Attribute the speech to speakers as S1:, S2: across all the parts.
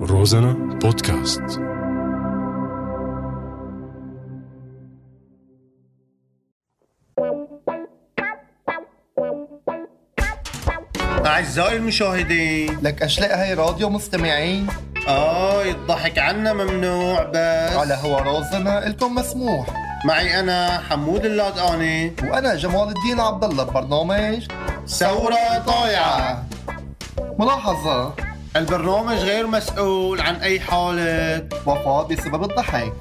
S1: روزانا بودكاست
S2: أعزائي المشاهدين
S3: لك اشلاء هاي راديو مستمعين
S2: آه الضحك عنا ممنوع بس
S3: على هو رازنا الكم مسموح
S2: معي أنا حمود اللادقاني
S3: وانا جمال الدين عبد الله ببرنامج
S2: ثورة طايعة
S3: ملاحظه
S2: البرنامج غير مسؤول عن أي حالة
S3: وفاه بسبب الضحك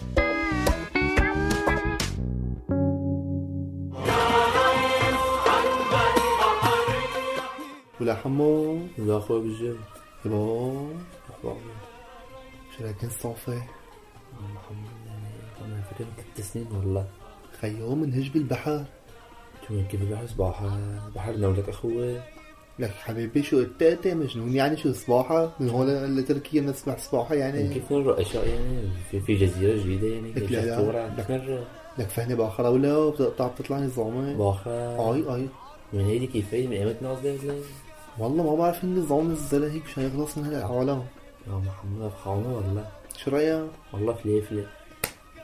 S2: ولا حمو
S4: لا اخويا بالجيب
S2: يبا
S4: اخبارك
S2: شو رايك صافي
S4: الحمد لله انا فاكرك ست سنين والله
S2: خيو منهج بالبحر
S4: شو كيف بحس بحر بحرنا ولك اخوي
S2: لك حبيبي شو التاتة مجنون يعني شو صباحة من هون لتركيا نسمع صباحة يعني
S4: كيف نروح اشياء يعني في, في جزيره جديده يعني
S2: لك لا لا. لك-
S4: كيف
S2: لك فهني باخرة ولا بتقطع بتطلع نظامي
S4: باخر
S2: اي اي
S4: من هيدي كيفيه من ايمت نازله
S2: والله ما بعرف النظام الزلة هيك شو يخلص من هالعالم
S4: يا محمد افخامه والله
S2: شو رايك؟
S4: والله فليفله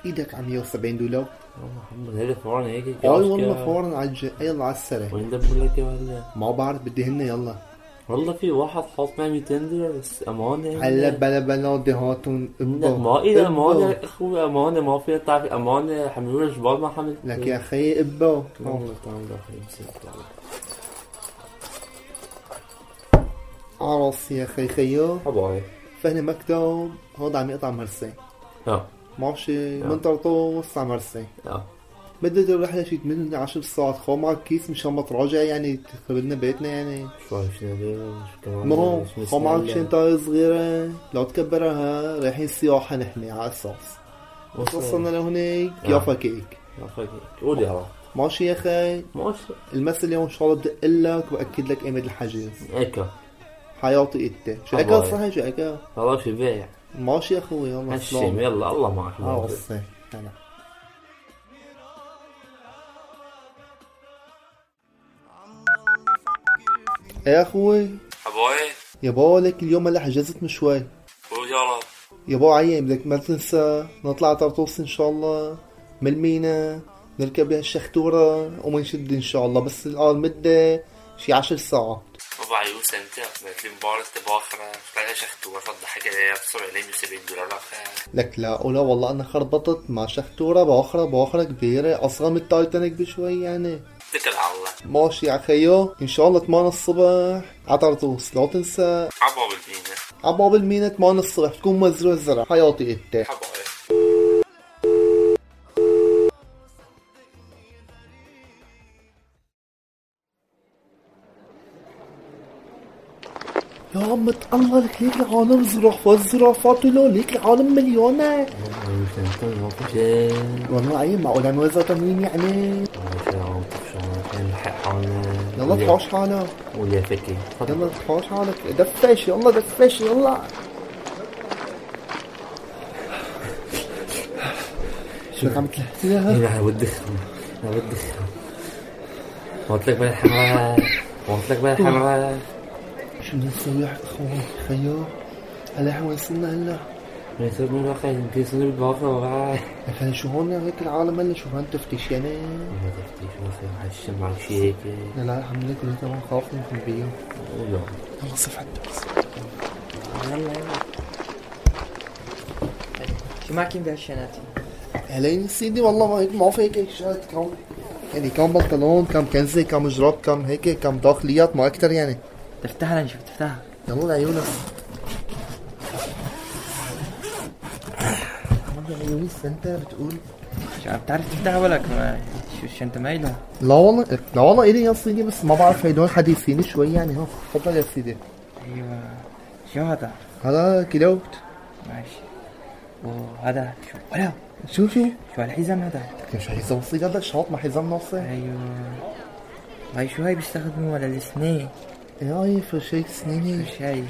S2: ايدك على 170 دولار
S4: يا محمد هيدا فورا هيك
S2: اي آه، والله فورا على الج... يلا على السرة
S4: وين دبر لك يا ولا
S2: ما بعرف بدي هن يلا
S4: والله في واحد حاط معي 200 دولار بس امانه
S2: هلا بلا بلا بدي هاتون
S4: لا، ما إذا أمانة أخوي أمانة ما فيها تعرف أمانة حملوا الجبال ما حمل
S2: لك يا اخي ابا
S4: والله تعال داخل يمسك تعال.
S2: عرس يا اخي خيو
S4: حبايب
S2: فهنا مكتب هون عم يقطع مرسي
S4: ها
S2: ماشي من طرطوس على مرسي
S4: ها
S2: مدة الرحلة شي 8 10 ساعات خو معك كيس مشان ما تراجع يعني تخرب لنا بيتنا يعني
S4: شو عارف شنو بيه، شو كمان
S2: ما هو
S4: شو
S2: خو
S4: اسمه
S2: معك
S4: اللي-
S2: شنطة صغيرة لو تكبرها رايحين سياحة نحن على اساس
S4: وصل.
S2: وصلنا لهونيك
S4: آه.
S2: يافا كيك
S4: يا أخي، قول يا رب
S2: ماشي يا اخي
S4: ماشي
S2: المسا اليوم ان شاء الله بدق لك باكد لك قيمه الحجز
S4: هيك
S2: حياتي انت شو هيك
S4: حبايب.
S2: صحيح شو هيك
S4: والله في بيع
S2: ماشي يا اخوي يلا
S4: هالشيء
S2: سلام
S4: يلا الله معك
S2: اه وصي هلا إيه يا اخوي
S4: حبايب
S2: يا با لك اليوم هلا حجزت من شوي
S4: قول يا رب
S2: يا با عيب لك ما تنسى نطلع طرطوس ان شاء الله من المينا نركب الشختورة ومنشد ان شاء الله بس الان مدة شي عشر ساعات
S4: طبعا يوسف انت قلت لي مباراه تباخره طلع شختوه فضحك عليها بسرعه 170 دولار اخي
S2: لك لا ولا والله انا خربطت مع شختوره باخره باخره كبيره اصغر من التايتانيك بشوي يعني
S4: اتكل على الله
S2: ماشي يا خيو ان شاء الله 8 الصبح عطرطوس لا تنسى
S4: عبوا بالبينا
S2: عباب المينا 8 الصبح تكون مزروع الزرع حياتي انت
S4: حبايب
S2: يا عم الله لك ليك العالم زرافه الزرافات له ليك العالم مليونه والله عيب معقول عم وزع تمرين يعني يلا تحوش حالك
S4: ولا فكي
S2: يلا تحوش حالك دفش يلا دفش يلا شو عم تلهتلها
S4: انا بدخن انا بدخن قلت لك بقى الحمراء قلت لك بقى الحمراء
S2: شو بدنا نسوي يا اخوان خيو هلا احنا وين صرنا هلا
S4: ما يصير من الواقع يمكن يصير بالواقع وراي
S2: هلا شو هون يعني؟ هيك العالم هلا شو هالتفتيش يعني
S4: ما تفتيش ما يصير حشم معك شيء هيك
S2: لا لا الحمد لله كلنا تمام خاف من بيو
S4: ولا
S2: يلا صف عندك
S5: شو معك بهالشناتي؟
S2: هلين سيدي والله ما هيك ما في هيك شات كم يعني كم بنطلون كم كنزه كم جراب كم هيك كم داخليات ما اكثر يعني
S5: تفتحها لنشوف تفتحها
S2: يلا لعيونك عيوني انت بتقول
S5: شو عم تعرف تفتحها ولك ما شو الشنطة مايلة
S2: لا والله لا والله الي يا سيدي بس ما بعرف هدول حديثين شوي يعني ها تفضل يا سيدي
S5: ايوه شو هذا؟
S2: هذا كيلوت
S5: ماشي وهذا شو ولا
S2: شو شو
S5: شو هالحزام هذا؟
S2: كان شو حزام صغير هذا شاط مع حزام ناصع
S5: ايوه هاي شو هاي بيستخدموها للسنين
S2: يا اي فرشاة سنيني
S5: مش هاي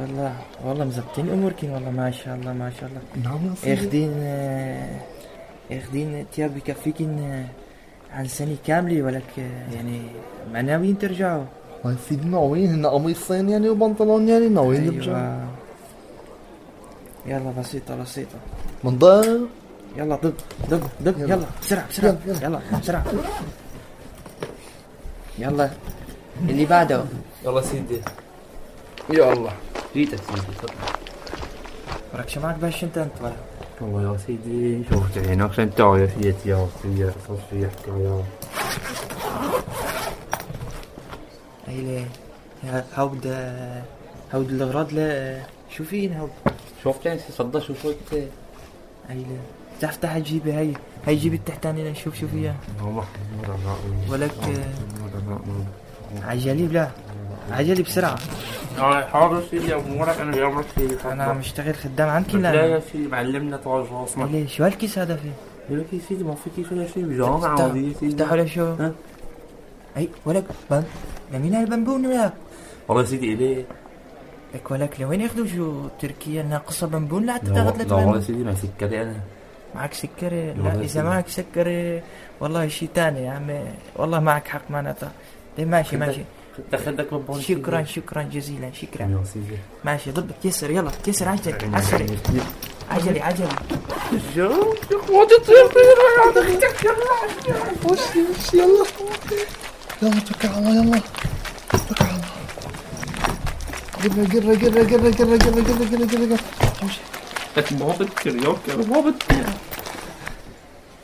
S5: والله والله مزبطين اموركم والله ما شاء الله ما شاء الله
S2: نعم يا سيدي
S5: اخدين آه، اخدين تياب بكفيكن آه، عن سنة كاملة ولك آه، يعني ما ناويين ترجعوا
S2: والله يا سيدي ناويين هن قميصين يعني وبنطلون يعني ناويين نرجع
S5: ايوه يلا بسيطة بسيطة
S2: منضم
S5: يلا ضب ضب ضب يلا بسرعة بسرعة يلا بسرعة يلا اللي بعده
S4: يلا سيدي
S5: يا الله
S4: جيتك سيدي تفضل
S5: وراك شو معك باش انت انت ولا
S4: والله يا سيدي شوفت عينك شنتاو يا سيدي يا سيدي صفي يحكي يا
S5: ايلي هاود هاود الاغراض لا شو فين هاود
S4: شوفت عينك صدى شو شفت
S5: ايلي بتعرف تحت جيبي هي هي جيبي التحتاني لنشوف شو فيها
S4: والله مرة رائعة.
S5: ولك
S4: مرة رائعة.
S5: عجلي بلا عجلي بسرعة
S6: اه حاضر سيدي ابو مرق انا بيعمرك سيدي
S5: انا مشتغل خدام عنك
S6: لا
S5: لا
S6: يا سيدي معلمنا توجه اصلا
S5: ايلي شو هالكيس هذا فيه
S4: يقول لك يا سيدي ما في كيف ولا شيء بجامعة
S5: افتح-
S4: عادية سيدي
S5: افتحوا لي شو
S4: ها؟
S5: اي ولك بن لمين هالبنبون ولك
S4: والله سيدي إليه
S5: لك ولك لوين ياخذوا شو تركيا ناقصة بنبون لا
S4: لا
S5: تاخذ لك
S4: لا والله
S5: بنبون
S4: سيدي ما سكري أنا
S5: معك سكري
S4: والله
S5: لا اذا
S4: سيدي.
S5: معك سكري والله شي تاني يا عمي والله معك حق معناتها طيب ماشي ماشي
S4: تاخذك ببون
S5: شكرا شكرا جزيلا شكرا
S4: يا سيدي
S5: ماشي ضب كسر يلا كسر عجل عجل عجلي عجلي
S2: وش وش يلا يلا توكل على الله يلا توكل على الله قرر قرر قرر قرر قرر قرر قرر قرر قرر
S6: لك ما بتكر يا كر ما بتكر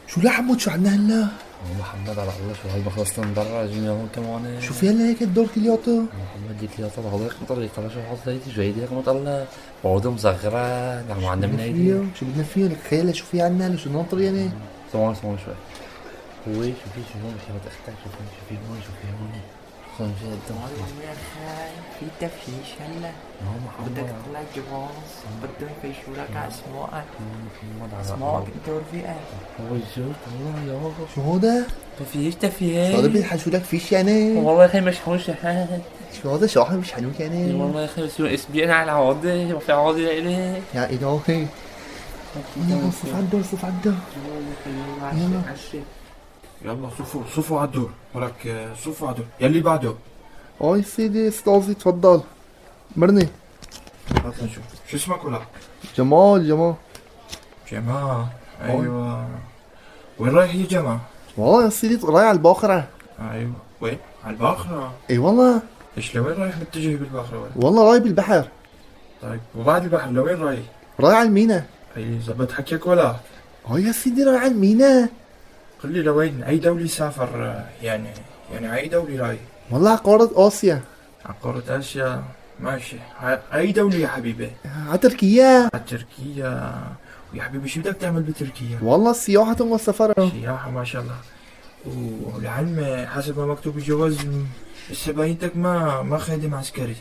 S2: شو لا حمود شو عندنا هلا
S4: محمد على الله شو هاي خلصنا ندرع جينا هون كمان
S2: شو في هلا هيك الدور كلياته
S4: محمد ديك اللي طلع هذا طلع طلع شو حاط زيتي جاي ديك ما طلع بعوضه مصغرة نعم عندنا من هيدي
S2: شو بدنا فيه لك خيالها شو في عندنا هلا شو ناطر يعني
S4: سمعوا سمعوا شوي هو شو في شو هون شو اختك شو في شو في هون شو في هون خلنا نشوف قدام
S5: في تفشيش هلا
S4: يا محمد
S5: تطلع جواز بدهم يفشوا لك على اسمائك
S4: محمد على الله
S5: انت ورفيقك
S4: هو شو والله يا هو
S2: شو هودا
S4: ما فيش تفيه
S2: شو هذا بيلحق شو لك فيش يعني
S4: والله يا اخي مش حوش حاجه
S2: شو هذا شو مش حنوك يعني
S4: إيه والله يا اخي بس اسبوعين على عوضه ما في عوضه لإلي
S2: يا إلهي يلا صف على الدور صف على الدور يلا
S7: يلا شوفوا شوفوا على الدور ولك آه، شوفوا على الدور يلي بعده
S2: اي سيدي استاذي تفضل مرني
S7: هات نشوف شو اسمك ولا
S2: جمال جمال
S7: جماعة ايوه وين رايح يا جماعة؟
S2: والله يا سيدي رايح على الباخرة
S7: ايوه وين؟ على الباخرة
S2: اي والله
S7: ايش لوين رايح متجه بالباخرة ولا؟
S2: والله رايح بالبحر
S7: طيب وبعد البحر لوين رايح؟
S2: رايح على المينا
S7: اي زبط حكيك ولا؟
S2: اه يا سيدي رايح على المينا
S7: قل لي لوين اي دولة سافر آه، يعني يعني اي دولة رايح؟
S2: والله على قارة آسيا
S7: على قارة اسيا ماشي ع- اي دولة يا حبيبي؟
S2: آه، على تركيا
S7: على تركيا ويا حبيبي شو بدك تعمل بتركيا؟
S2: والله السياحة والسفر
S7: سياحة ما شاء الله والعلم حسب ما مكتوب بالجواز م- لسه باينتك ما ما خادم عسكري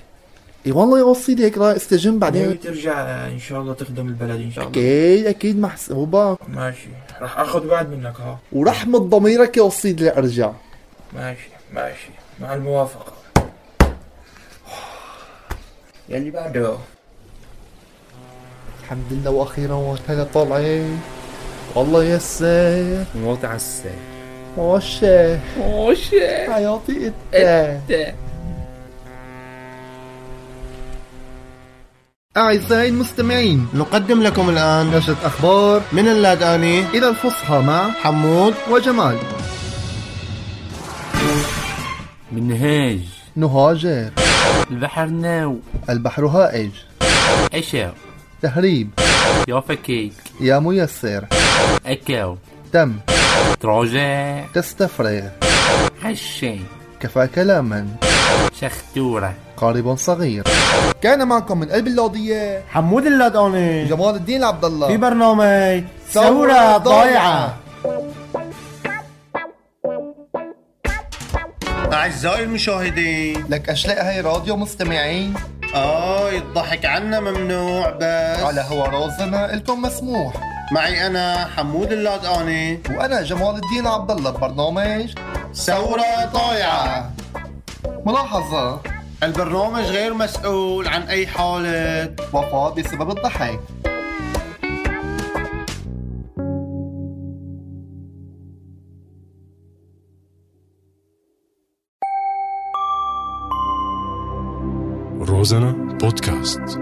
S2: اي إيه والله يا سيدي هيك رايح استجم
S7: ناوي
S2: بعدين
S7: ترجع ان شاء الله تخدم البلد ان شاء الله
S2: اكيد اكيد محسوبة
S7: ماشي راح اخذ بعد منك ها
S2: ورحمة ضميرك يا سيدي لارجع
S7: ماشي ماشي مع الموافقة يلي بعده
S2: الحمد لله واخيرا وهلا طالعين والله يسر
S4: موت على الساعة
S2: وشي وشي حياتي انت أعزائي المستمعين
S3: نقدم لكم الآن
S2: نشرة أخبار
S3: من اللاداني
S2: إلى الفصحى مع
S3: حمود
S2: وجمال
S4: من هاج
S2: نهاجر
S4: البحر ناو
S2: البحر هائج
S4: عشاء
S2: تهريب
S4: يا فكيك
S2: يا ميسر
S4: أكاو
S2: تم
S4: تراجع
S2: تستفرغ
S4: حشين
S2: كفى كلاما
S4: شختورة
S2: قارب صغير كان معكم من قلب اللوضية
S3: حمود اللاداني
S2: جمال الدين عبد
S3: في
S2: الله
S3: برنامج ثورة ضايعة
S8: أعزائي المشاهدين
S3: لك أشلاء هاي راديو مستمعين
S8: آه الضحك عنا ممنوع بس
S3: على هو رازنا إلكم مسموح
S8: معي أنا حمود اللادقاني
S3: وأنا جمال الدين عبد الله ببرنامج
S8: ثورة طايعة
S3: ملاحظة
S8: البرنامج غير مسؤول عن أي حالة
S3: وفاة بسبب الضحك
S1: Розана подкаст.